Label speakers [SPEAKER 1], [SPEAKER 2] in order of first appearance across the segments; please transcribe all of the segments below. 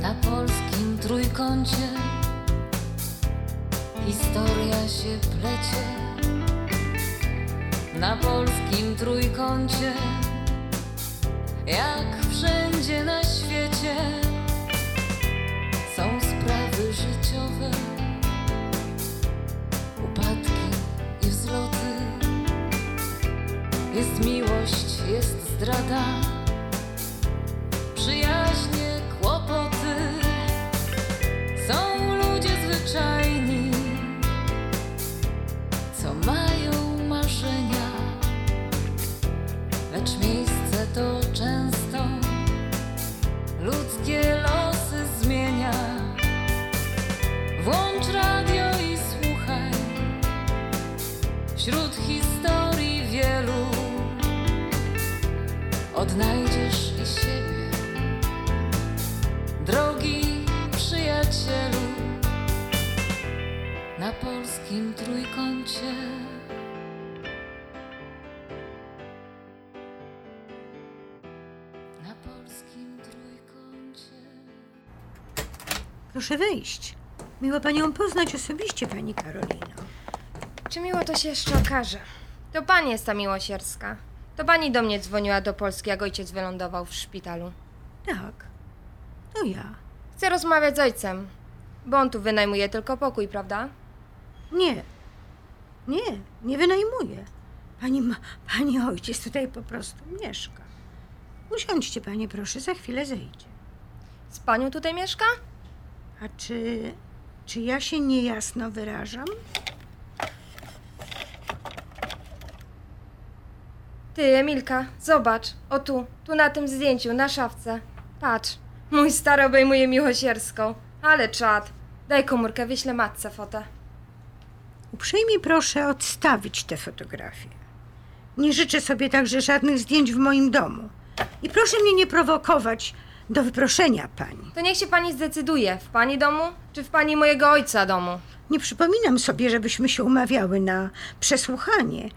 [SPEAKER 1] na polskim trójkącie historia się plecie. Na polskim trójkącie, jak wszędzie na świecie, są sprawy życiowe, upadki i wzloty. Jest miłość, jest zdrada przyjaźnie, kłopoty. Są ludzie zwyczajni, co mają marzenia, lecz miejsce to często ludzkie losy zmienia. Włącz radio i słuchaj wśród historii wielu. Odnajdziesz i siebie. Drogi przyjacielu, na polskim trójkącie. Na polskim trójkącie.
[SPEAKER 2] Proszę wejść. Miło panią poznać osobiście, pani Karolino.
[SPEAKER 3] Czy miło to się jeszcze okaże? To pani jest ta miłosierska. To pani do mnie dzwoniła do Polski, jak ojciec wylądował w szpitalu.
[SPEAKER 2] Tak. To ja.
[SPEAKER 3] Chcę rozmawiać z ojcem, bo on tu wynajmuje tylko pokój, prawda?
[SPEAKER 2] Nie. Nie, nie wynajmuję. Pani, ma, pani ojciec tutaj po prostu mieszka. Usiądźcie, panie, proszę, za chwilę zejdzie.
[SPEAKER 3] Z panią tutaj mieszka?
[SPEAKER 2] A czy. czy ja się niejasno wyrażam?
[SPEAKER 3] Ty, Emilka, zobacz. O tu, tu na tym zdjęciu, na szafce. Patrz, mój stary obejmuje miłosierską. Ale czad. Daj komórkę, wyślę matce fotę.
[SPEAKER 2] Uprzejmie proszę odstawić te fotografie. Nie życzę sobie także żadnych zdjęć w moim domu. I proszę mnie nie prowokować do wyproszenia pani.
[SPEAKER 3] To niech się pani zdecyduje, w pani domu, czy w pani mojego ojca domu.
[SPEAKER 2] Nie przypominam sobie, żebyśmy się umawiały na przesłuchanie.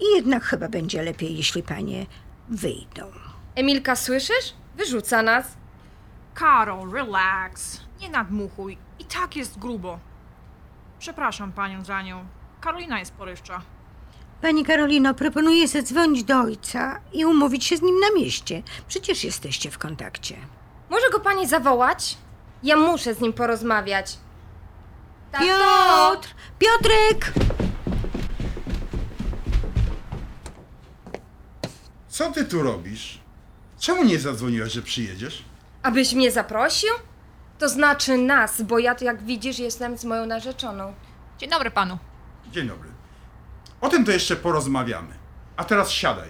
[SPEAKER 2] I jednak chyba będzie lepiej, jeśli panie wyjdą.
[SPEAKER 3] Emilka, słyszysz? Wyrzuca nas.
[SPEAKER 4] Karol, relax. Nie nadmuchuj. I tak jest grubo. Przepraszam panią za nią. Karolina jest porywcza.
[SPEAKER 2] Pani Karolino, proponuję zadzwonić do ojca i umówić się z nim na mieście. Przecież jesteście w kontakcie.
[SPEAKER 3] Może go pani zawołać? Ja muszę z nim porozmawiać. Tato!
[SPEAKER 2] Piotr! Piotrek!
[SPEAKER 5] Co ty tu robisz? Czemu nie zadzwoniłaś, że przyjedziesz?
[SPEAKER 3] Abyś mnie zaprosił? To znaczy nas, bo ja tu jak widzisz jestem z moją narzeczoną.
[SPEAKER 4] Dzień dobry panu.
[SPEAKER 5] Dzień dobry. O tym to jeszcze porozmawiamy. A teraz siadaj.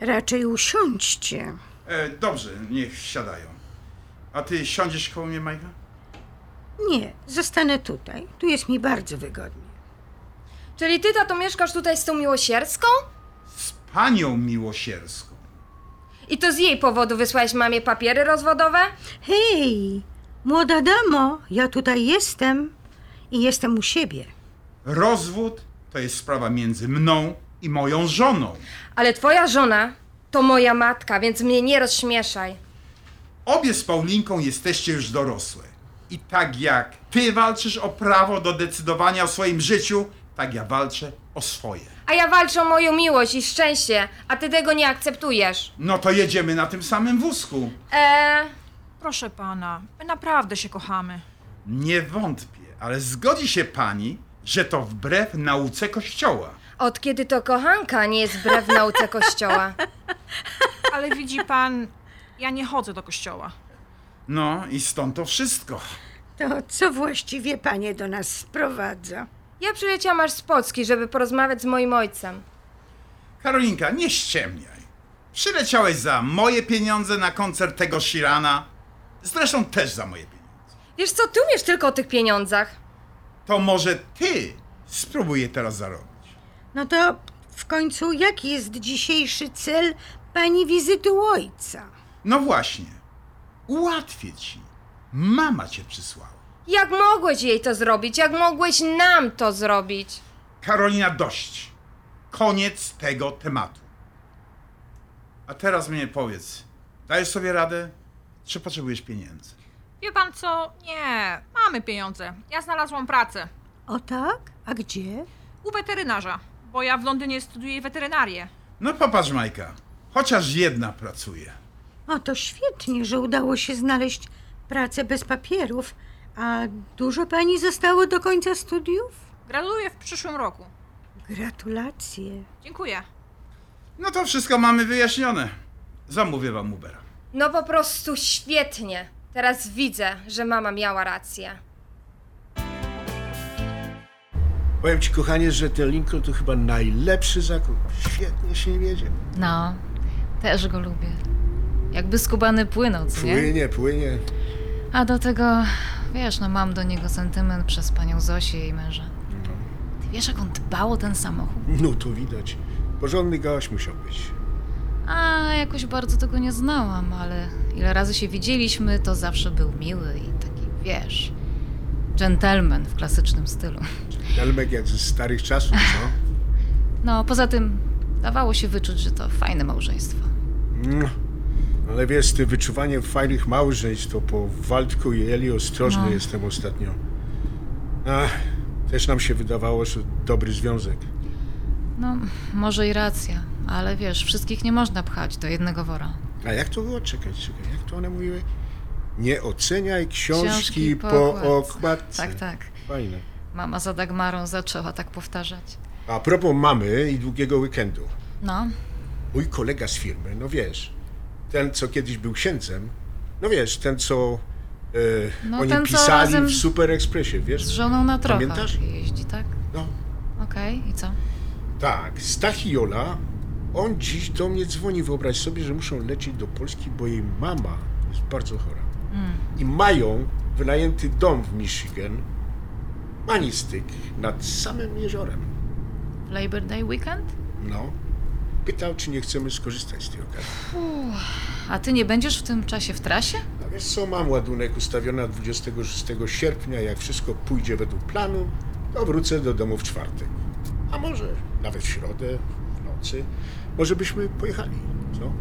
[SPEAKER 2] Raczej usiądźcie.
[SPEAKER 5] E, dobrze, niech siadają. A ty siądziesz koło mnie, Majka?
[SPEAKER 2] Nie, zostanę tutaj. Tu jest mi bardzo wygodnie.
[SPEAKER 3] Czyli ty, tato, mieszkasz tutaj z tą miłosierską?
[SPEAKER 5] Z panią miłosierską.
[SPEAKER 3] I to z jej powodu wysłałeś mamie papiery rozwodowe?
[SPEAKER 2] Hej, młoda damo, ja tutaj jestem i jestem u siebie.
[SPEAKER 5] Rozwód to jest sprawa między mną i moją żoną.
[SPEAKER 3] Ale twoja żona to moja matka, więc mnie nie rozśmieszaj.
[SPEAKER 5] Obie z Paulinką jesteście już dorosłe. I tak jak ty walczysz o prawo do decydowania o swoim życiu, tak ja walczę o swoje.
[SPEAKER 3] A ja walczę o moją miłość i szczęście, a ty tego nie akceptujesz.
[SPEAKER 5] No to jedziemy na tym samym wózku.
[SPEAKER 3] Eee...
[SPEAKER 4] Proszę pana, my naprawdę się kochamy.
[SPEAKER 5] Nie wątpię, ale zgodzi się pani, że to wbrew nauce kościoła.
[SPEAKER 3] Od kiedy to kochanka nie jest wbrew nauce kościoła?
[SPEAKER 4] Ale widzi pan, ja nie chodzę do kościoła.
[SPEAKER 5] No i stąd to wszystko.
[SPEAKER 2] To co właściwie panie do nas sprowadza?
[SPEAKER 3] Ja przyleciałam aż z Polski, żeby porozmawiać z moim ojcem.
[SPEAKER 5] Karolinka, nie ściemniaj. Przyleciałeś za moje pieniądze na koncert tego Shirana. Zresztą też za moje pieniądze.
[SPEAKER 3] Wiesz co, ty umiesz tylko o tych pieniądzach.
[SPEAKER 5] To może ty spróbuj je teraz zarobić.
[SPEAKER 2] No to w końcu jaki jest dzisiejszy cel pani wizyty u ojca?
[SPEAKER 5] No właśnie. Ułatwię ci. Mama cię przysłała.
[SPEAKER 3] Jak mogłeś jej to zrobić? Jak mogłeś nam to zrobić?
[SPEAKER 5] Karolina, dość. Koniec tego tematu. A teraz mnie powiedz, dajesz sobie radę, czy potrzebujesz pieniędzy?
[SPEAKER 6] Wie pan co? Nie, mamy pieniądze. Ja znalazłam pracę.
[SPEAKER 2] O tak? A gdzie?
[SPEAKER 6] U weterynarza, bo ja w Londynie studiuję weterynarię.
[SPEAKER 5] No popatrz, Majka, chociaż jedna pracuje.
[SPEAKER 2] O, to świetnie, że udało się znaleźć pracę bez papierów. A dużo pani zostało do końca studiów?
[SPEAKER 6] Graduję w przyszłym roku.
[SPEAKER 2] Gratulacje.
[SPEAKER 6] Dziękuję.
[SPEAKER 5] No to wszystko mamy wyjaśnione. Zamówię wam Ubera.
[SPEAKER 3] No po prostu świetnie. Teraz widzę, że mama miała rację.
[SPEAKER 7] Powiem ci, kochanie, że ten Lincoln to chyba najlepszy zakup. Świetnie się wiedzie.
[SPEAKER 8] No, też go lubię. Jakby skubany płynął, co nie?
[SPEAKER 7] Płynie, płynie.
[SPEAKER 8] A do tego, wiesz, no mam do niego sentyment przez panią Zosię i jej męża. Ty wiesz, jak on dbał o ten samochód?
[SPEAKER 7] No to widać. Porządny gość musiał być.
[SPEAKER 8] A, jakoś bardzo tego nie znałam, ale ile razy się widzieliśmy, to zawsze był miły i taki, wiesz, dżentelmen w klasycznym stylu.
[SPEAKER 7] Delmek jak ze starych czasów, co?
[SPEAKER 8] No, poza tym dawało się wyczuć, że to fajne małżeństwo.
[SPEAKER 7] Mm. Ale wiesz, ty wyczuwanie fajnych małżeństw, to po Waldku i Eli ostrożny
[SPEAKER 8] No.
[SPEAKER 7] jestem ostatnio. Ach, też nam się wydawało, że dobry związek.
[SPEAKER 8] No, może i racja, ale wiesz, wszystkich nie można pchać do jednego wora.
[SPEAKER 7] A jak to było? Czekaj, czekaj, jak to one mówiły? Nie oceniaj książki,
[SPEAKER 8] Książki po
[SPEAKER 7] po,
[SPEAKER 8] okładce.
[SPEAKER 7] okładce.
[SPEAKER 8] Tak, tak.
[SPEAKER 7] Fajne.
[SPEAKER 8] Mama za Dagmarą zaczęła tak powtarzać.
[SPEAKER 7] A propos mamy i długiego weekendu.
[SPEAKER 8] No,
[SPEAKER 7] Mój kolega z firmy, no wiesz, ten co kiedyś był księdzem, no wiesz, ten co e,
[SPEAKER 8] No,
[SPEAKER 7] oni
[SPEAKER 8] ten, co
[SPEAKER 7] pisali
[SPEAKER 8] razem
[SPEAKER 7] w Super Expressie, wiesz?
[SPEAKER 8] z żoną na
[SPEAKER 7] Pamiętasz?
[SPEAKER 8] tropach jeździ, tak?
[SPEAKER 7] No
[SPEAKER 8] Okej, i co?
[SPEAKER 7] tak, Stach i Jola, on dziś do mnie dzwoni, wyobraź sobie, że muszą lecieć do Polski, bo jej mama jest bardzo chora.
[SPEAKER 8] Mm.
[SPEAKER 7] I mają wynajęty dom w Michigan, manistyk, nad samym jeziorem.
[SPEAKER 8] W Labor Day weekend?
[SPEAKER 7] No, pytał, czy nie chcemy skorzystać z tej okazji.
[SPEAKER 8] A ty nie będziesz w tym czasie w trasie?
[SPEAKER 7] A wiesz co, mam ładunek ustawiony na 26 sierpnia, jak wszystko pójdzie według planu, to wrócę do domu w czwartek. A może nawet w środę, w nocy, może byśmy pojechali, co?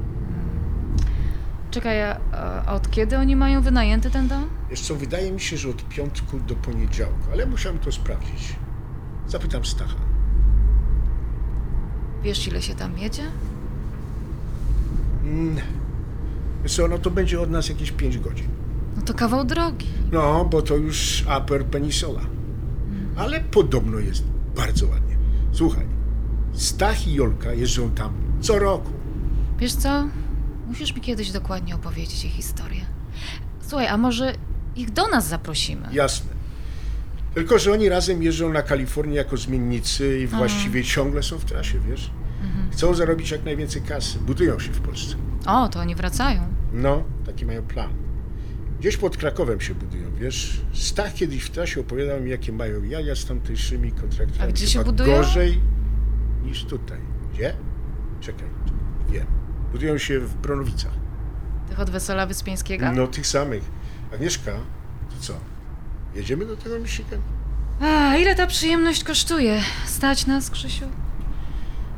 [SPEAKER 8] Czekaj, a, a od kiedy oni mają wynajęty ten dom?
[SPEAKER 7] Wiesz co, wydaje mi się, że od piątku do poniedziałku, ale musiałem to sprawdzić. Zapytam Stacha.
[SPEAKER 8] Wiesz, ile się tam jedzie?
[SPEAKER 7] Mm. Wiesz co, no to będzie od nas jakieś 5 godzin.
[SPEAKER 8] No to kawał drogi.
[SPEAKER 7] No, bo to już Upper Peninsula. Ale podobno jest bardzo ładnie. Słuchaj, Stach i Jolka jeżdżą tam co roku.
[SPEAKER 8] Wiesz co? Musisz mi kiedyś dokładnie opowiedzieć ich historię. Słuchaj, a może ich do nas zaprosimy?
[SPEAKER 7] Jasne. Tylko, że oni razem jeżdżą na Kalifornię jako zmiennicy i właściwie ciągle są w trasie, wiesz? Chcą zarobić jak najwięcej kasy, budują się w Polsce.
[SPEAKER 8] O, to oni wracają.
[SPEAKER 7] No, taki mają plan. Gdzieś pod Krakowem się budują, wiesz? Stach kiedyś w trasie opowiadał mi, jakie mają jaja z tamtejszymi kontraktami.
[SPEAKER 8] A gdzie się
[SPEAKER 7] Chyba
[SPEAKER 8] budują?
[SPEAKER 7] Gorzej niż tutaj. Gdzie? Czekaj, wiem. Budują się w Bronowicach.
[SPEAKER 8] Tych od Wesela Wyspiańskiego?
[SPEAKER 7] No, tych samych. Agnieszka, to co? Jedziemy do tego Michigan?
[SPEAKER 8] A, ile ta przyjemność kosztuje? Stać nas, Krzysiu?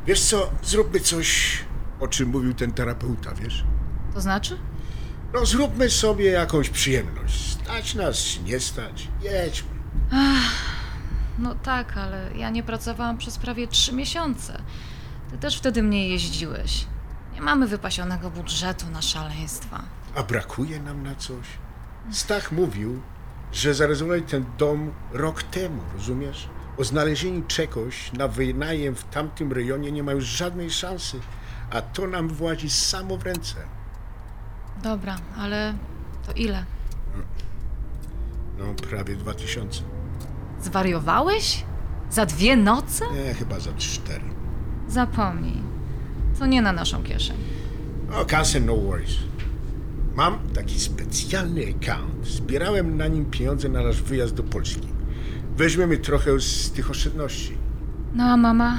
[SPEAKER 7] Wiesz co, zróbmy coś, o czym mówił ten terapeuta, wiesz?
[SPEAKER 8] To znaczy?
[SPEAKER 7] No zróbmy sobie jakąś przyjemność. Stać nas, nie stać, jedźmy.
[SPEAKER 8] No tak, ale ja nie pracowałam przez prawie trzy miesiące. Ty też wtedy mnie jeździłeś. Nie mamy wypasionego budżetu na szaleństwa.
[SPEAKER 7] A brakuje nam na coś? Stach mówił, że zarezerwowali ten dom rok temu, rozumiesz? O znalezieniu czegoś na wynajem w tamtym rejonie nie ma już żadnej szansy, a to nam włazi samo w ręce.
[SPEAKER 8] Dobra, ale to ile?
[SPEAKER 7] No, prawie dwa tysiące.
[SPEAKER 8] Zwariowałeś? Za dwie noce?
[SPEAKER 7] Nie, chyba za cztery.
[SPEAKER 8] Zapomnij. To nie na naszą kieszeń.
[SPEAKER 7] O, kasę no worries. Mam taki specjalny account. Zbierałem na nim pieniądze na nasz wyjazd do Polski. Weźmiemy trochę z tych oszczędności.
[SPEAKER 8] No a mama?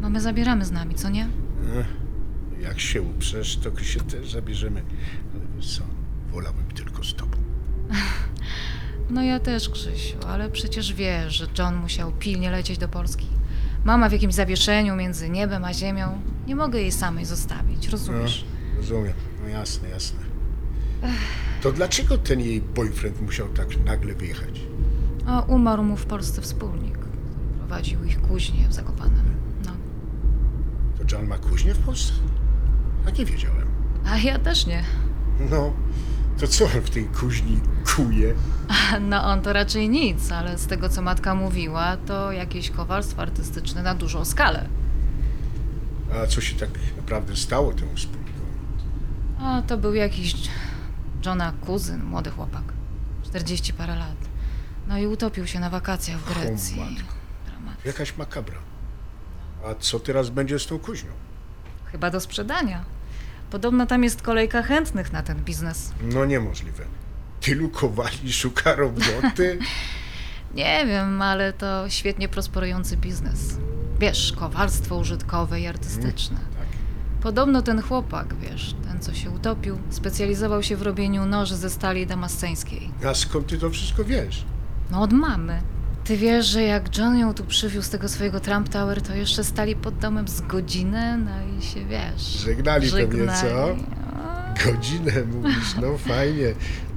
[SPEAKER 8] Mamy zabieramy z nami, co nie?
[SPEAKER 7] Jak się uprzesz, to się też zabierzemy. Ale wiesz co, wolałbym tylko z tobą.
[SPEAKER 8] No ja też, Krzysiu, ale przecież wiesz, że John musiał pilnie lecieć do Polski. Mama w jakimś zawieszeniu między niebem a ziemią. No
[SPEAKER 7] No,
[SPEAKER 8] Nie mogę jej samej zostawić, rozumiesz?
[SPEAKER 7] Rozumiem. No jasne, jasne. To dlaczego ten jej boyfriend musiał tak nagle wyjechać?
[SPEAKER 8] A umarł mu w Polsce wspólnik, który prowadził ich kuźnię w Zakopanem. No.
[SPEAKER 7] To John ma kuźnię w Polsce? A nie wiedziałem.
[SPEAKER 8] A ja też nie.
[SPEAKER 7] No, to co on w tej kuźni kuje?
[SPEAKER 8] No on to raczej nic, ale z tego co matka mówiła, to jakieś kowalstwo artystyczne na dużą skalę.
[SPEAKER 7] A co się tak naprawdę stało temu wspólnikowi?
[SPEAKER 8] A to był jakiś Johna kuzyn, młody chłopak. 40 parę lat. No i utopił się na wakacjach w Grecji.
[SPEAKER 7] matko.
[SPEAKER 8] Dramat.
[SPEAKER 7] Jakaś makabra. A co teraz będzie z tą kuźnią?
[SPEAKER 8] Chyba do sprzedania. Podobno tam jest kolejka chętnych na ten biznes.
[SPEAKER 7] No niemożliwe. Tylu kowali szuka roboty?
[SPEAKER 8] Nie wiem, ale to świetnie prosperujący biznes. Wiesz, kowalstwo użytkowe i artystyczne.
[SPEAKER 7] tak.
[SPEAKER 8] Podobno ten chłopak, wiesz, ten co się utopił, specjalizował się w robieniu noży ze stali damasceńskiej.
[SPEAKER 7] A skąd ty to wszystko wiesz?
[SPEAKER 8] No od mamy. Ty wiesz, że jak John ją tu przywiózł tego swojego Trump Tower, to jeszcze stali pod domem z godzinę, no i się wiesz.
[SPEAKER 7] Żegnali pewnie,
[SPEAKER 8] żegnali.
[SPEAKER 7] co?
[SPEAKER 8] A,
[SPEAKER 7] Godzinę mówisz, no fajnie.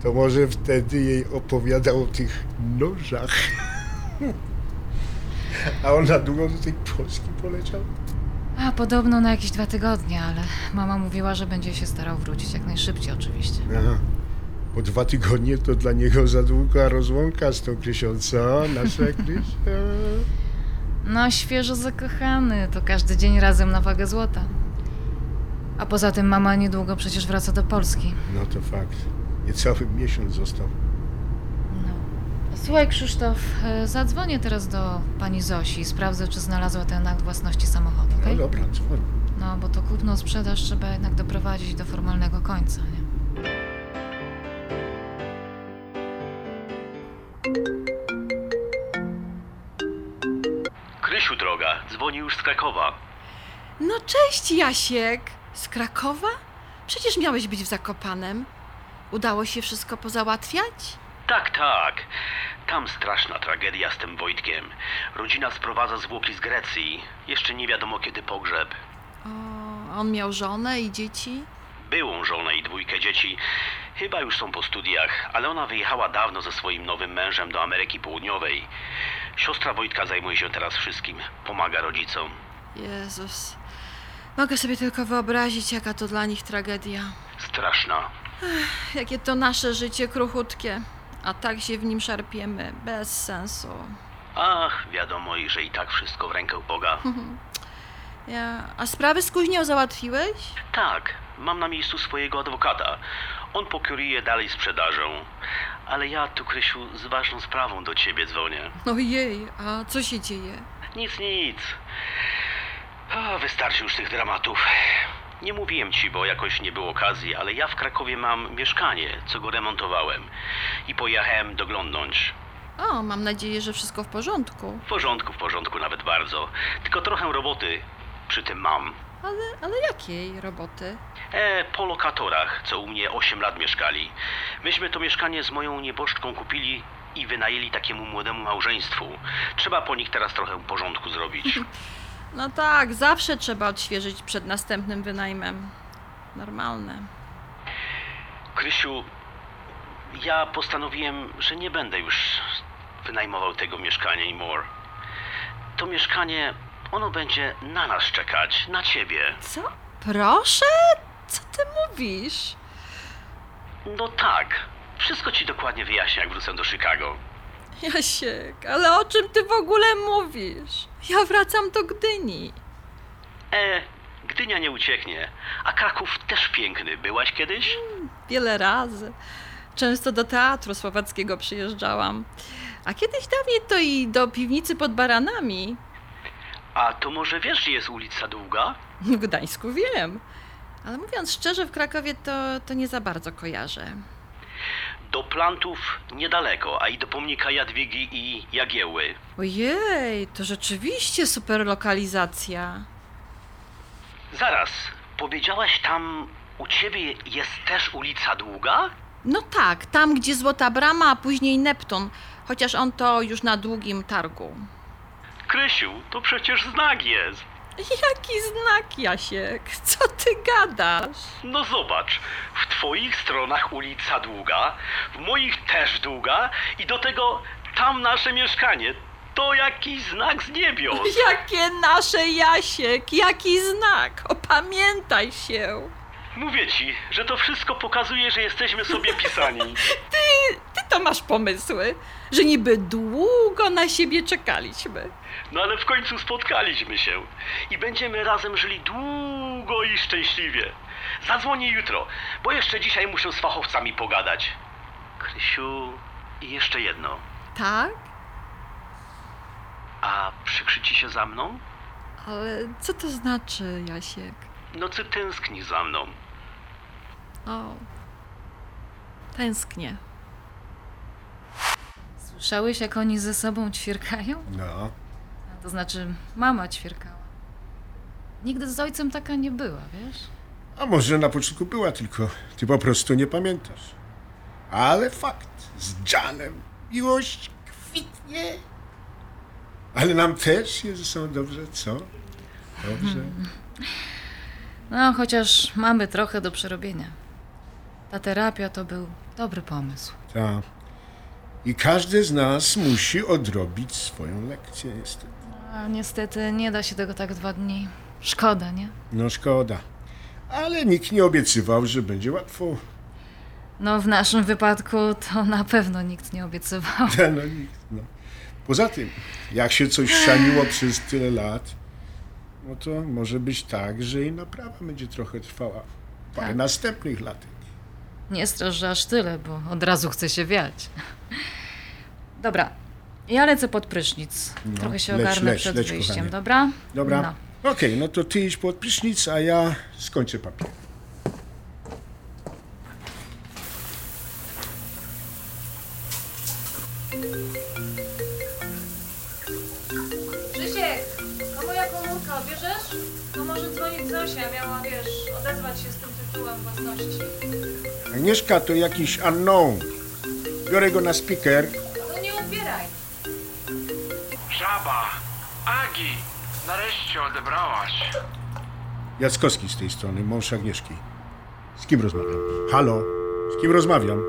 [SPEAKER 7] To może wtedy jej opowiadał o tych nożach. A on na długo do tej Polski poleciał?
[SPEAKER 8] A podobno na jakieś dwa tygodnie, ale mama mówiła, że będzie się starał wrócić jak najszybciej oczywiście.
[SPEAKER 7] Aha. Po dwa tygodnie to dla niego za długa rozłąka z tą Krysią, co? Nasza Krysia.
[SPEAKER 8] No, świeżo zakochany, to każdy dzień razem na wagę złota. A poza tym mama niedługo przecież wraca do Polski.
[SPEAKER 7] No to fakt. Niecały miesiąc został.
[SPEAKER 8] No. Słuchaj, Krzysztof, e, zadzwonię teraz do pani Zosi i sprawdzę, czy znalazła ten akt własności samochodu,
[SPEAKER 7] No
[SPEAKER 8] okej?
[SPEAKER 7] dobra, dzwoń.
[SPEAKER 8] No, bo to kupno sprzedaż trzeba jednak doprowadzić do formalnego końca, nie?
[SPEAKER 9] Krysiu droga, dzwoni już z Krakowa.
[SPEAKER 4] No cześć Jasiek! Z Krakowa? Przecież miałeś być w Zakopanem. Udało się wszystko pozałatwiać?
[SPEAKER 9] Tak, tak. Tam straszna tragedia z tym Wojtkiem. Rodzina sprowadza zwłoki z Grecji. Jeszcze nie wiadomo kiedy pogrzeb.
[SPEAKER 4] O, a on miał żonę i dzieci?
[SPEAKER 9] Byłą żonę i dwójkę dzieci. Chyba już są po studiach, ale ona wyjechała dawno ze swoim nowym mężem do Ameryki Południowej. Siostra Wojtka zajmuje się teraz wszystkim. Pomaga rodzicom.
[SPEAKER 4] Jezus. Mogę sobie tylko wyobrazić, jaka to dla nich tragedia.
[SPEAKER 9] Straszna.
[SPEAKER 4] Jakie to nasze życie kruchutkie. A tak się w nim szarpiemy. Bez sensu.
[SPEAKER 9] Ach, wiadomo, i że i tak wszystko w rękę Boga.
[SPEAKER 4] Ja... A sprawy z kuźnią załatwiłeś?
[SPEAKER 9] Tak, mam na miejscu swojego adwokata. On pokieruje dalej sprzedażą. Ale ja tu, Krysiu, z ważną sprawą do ciebie dzwonię.
[SPEAKER 4] Ojej, a co się dzieje?
[SPEAKER 9] Nic, nic. A, wystarczy już tych dramatów. Nie mówiłem ci, bo jakoś nie było okazji, ale ja w Krakowie mam mieszkanie, co go remontowałem. I pojechałem doglądnąć.
[SPEAKER 4] O, mam nadzieję, że wszystko w porządku.
[SPEAKER 9] W porządku, w porządku, nawet bardzo. Tylko trochę roboty przy tym mam.
[SPEAKER 4] Ale, ale jakiej roboty?
[SPEAKER 9] E, po lokatorach, co u mnie 8 lat mieszkali. Myśmy to mieszkanie z moją nieboszczką kupili i wynajęli takiemu młodemu małżeństwu. Trzeba po nich teraz trochę porządku zrobić.
[SPEAKER 4] No tak, zawsze trzeba odświeżyć przed następnym wynajmem. Normalne.
[SPEAKER 9] Krysiu, ja postanowiłem, że nie będę już wynajmował tego mieszkania anymore. To mieszkanie, ono będzie na nas czekać, na ciebie.
[SPEAKER 4] Co? Proszę? Co ty mówisz?
[SPEAKER 9] No tak, wszystko ci dokładnie wyjaśnię, jak wrócę do Chicago.
[SPEAKER 4] Jasiek, ale o czym ty w ogóle mówisz? Ja wracam do Gdyni.
[SPEAKER 9] E, Gdynia nie ucieknie, a Kraków też piękny. Byłaś kiedyś?
[SPEAKER 4] Wiele razy. Często do teatru słowackiego przyjeżdżałam. A kiedyś dawniej to i do piwnicy pod baranami.
[SPEAKER 9] A to może wiesz, gdzie jest ulica Długa?
[SPEAKER 4] W Gdańsku wiem. Ale mówiąc szczerze, w Krakowie to, to nie za bardzo kojarzę.
[SPEAKER 9] Do Plantów niedaleko, a i do pomnika Jadwigi i Jagieły.
[SPEAKER 4] Ojej, to rzeczywiście super lokalizacja.
[SPEAKER 9] Zaraz, powiedziałaś tam, u ciebie jest też ulica Długa?
[SPEAKER 4] No tak, tam gdzie Złota Brama, a później Neptun, chociaż on to już na długim targu.
[SPEAKER 9] Krysiu, to przecież znak jest.
[SPEAKER 4] Jaki znak, Jasiek? Co ty gadasz?
[SPEAKER 9] No zobacz, w twoich stronach ulica długa, w moich też długa i do tego tam nasze mieszkanie. To jakiś znak z niebios.
[SPEAKER 4] Jakie nasze Jasiek? Jaki znak? Opamiętaj się.
[SPEAKER 9] Mówię ci, że to wszystko pokazuje, że jesteśmy sobie pisani.
[SPEAKER 4] Ty to masz pomysły, że niby długo na siebie czekaliśmy.
[SPEAKER 9] No ale w końcu spotkaliśmy się i będziemy razem żyli długo i szczęśliwie. Zadzwonię jutro, bo jeszcze dzisiaj muszę z fachowcami pogadać. Krysiu, i jeszcze jedno.
[SPEAKER 4] Tak?
[SPEAKER 9] A przykrzy ci się za mną?
[SPEAKER 4] Ale co to znaczy, Jasiek?
[SPEAKER 9] Nocy No tęskni za mną.
[SPEAKER 4] O, tęsknię.
[SPEAKER 8] Słyszałeś, jak oni ze sobą ćwierkają?
[SPEAKER 7] No.
[SPEAKER 8] A To znaczy, mama ćwierkała. Nigdy z ojcem taka nie była, wiesz?
[SPEAKER 7] A może na początku była, tylko ty po prostu nie pamiętasz. Ale fakt, z Janem miłość kwitnie. Ale nam też jest ze sobą dobrze, co? Dobrze.
[SPEAKER 8] No, chociaż mamy trochę do przerobienia. Ta terapia to był dobry pomysł.
[SPEAKER 7] Tak. I każdy z nas musi odrobić swoją lekcję, niestety.
[SPEAKER 8] A niestety nie da się tego tak w dwa dni. Szkoda, nie?
[SPEAKER 7] No szkoda. Ale nikt nie obiecywał, że będzie łatwo.
[SPEAKER 8] No, w naszym wypadku to na pewno nikt nie obiecywał.
[SPEAKER 7] No, nikt, no. Poza tym, jak się coś szaniło przez tyle lat, no to może być tak, że i naprawa będzie trochę trwała parę następnych lat.
[SPEAKER 8] Nie strasz, że aż tyle, bo od razu chce się wiać. Dobra, ja lecę pod prysznic. Trochę się
[SPEAKER 7] No, leć,
[SPEAKER 8] ogarnę
[SPEAKER 7] leć,
[SPEAKER 8] przed
[SPEAKER 7] leć,
[SPEAKER 8] wyjściem,
[SPEAKER 7] kochanie.
[SPEAKER 8] dobra?
[SPEAKER 7] Dobra.
[SPEAKER 8] No.
[SPEAKER 7] Okej, no to ty idź pod prysznic, a ja skończę papier.
[SPEAKER 8] Krzysiek, a moja komórka, bierzesz? To może dzwonić Zosia, miała, wiesz, odezwać się z tym tytułem własności.
[SPEAKER 7] Agnieszka to jakiś unknown. Biorę go na speaker.
[SPEAKER 8] No nie odbieraj.
[SPEAKER 10] Żaba! Agi! Nareszcie odebrałaś.
[SPEAKER 7] Jackowski z tej strony, mąż Agnieszki. Z kim rozmawiam? Halo? Z kim rozmawiam?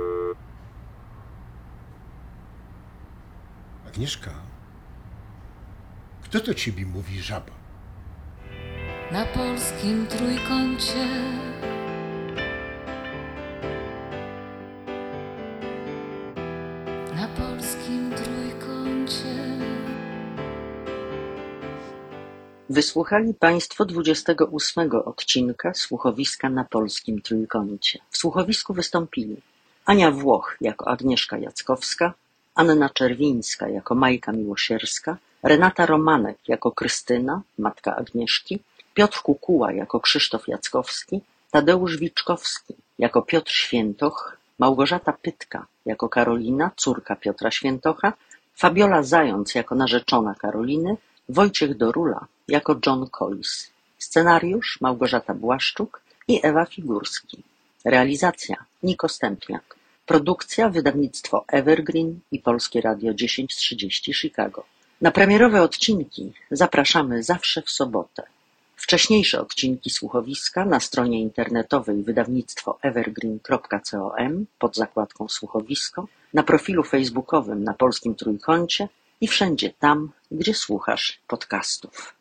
[SPEAKER 7] Agnieszka? Kto to ciebie mówi żaba?
[SPEAKER 8] Na polskim trójkącie Na polskim trójkącie
[SPEAKER 2] Wysłuchali Państwo 28 odcinka słuchowiska na polskim trójkącie. W słuchowisku wystąpili Ania Włoch jako Agnieszka Jackowska, Anna Czerwińska jako Majka Miłosierska, Renata Romanek jako Krystyna, matka Agnieszki, Piotr Kukuła jako Krzysztof Jackowski, Tadeusz Wiczkowski jako Piotr Świętoch, Małgorzata Pytka jako Karolina, córka Piotra Świętocha, Fabiola Zając jako narzeczona Karoliny, Wojciech Dorula jako John Collis. Scenariusz Małgorzata Błaszczuk i Ewa Figurski. Realizacja Niko Stępniak. Produkcja wydawnictwo Evergreen i Polskie Radio 1030 Chicago. Na premierowe odcinki zapraszamy zawsze w sobotę. Wcześniejsze odcinki słuchowiska na stronie internetowej wydawnictwo evergreen.com pod zakładką słuchowisko, na profilu facebookowym na Polskim Trójkącie i wszędzie tam, gdzie słuchasz podcastów.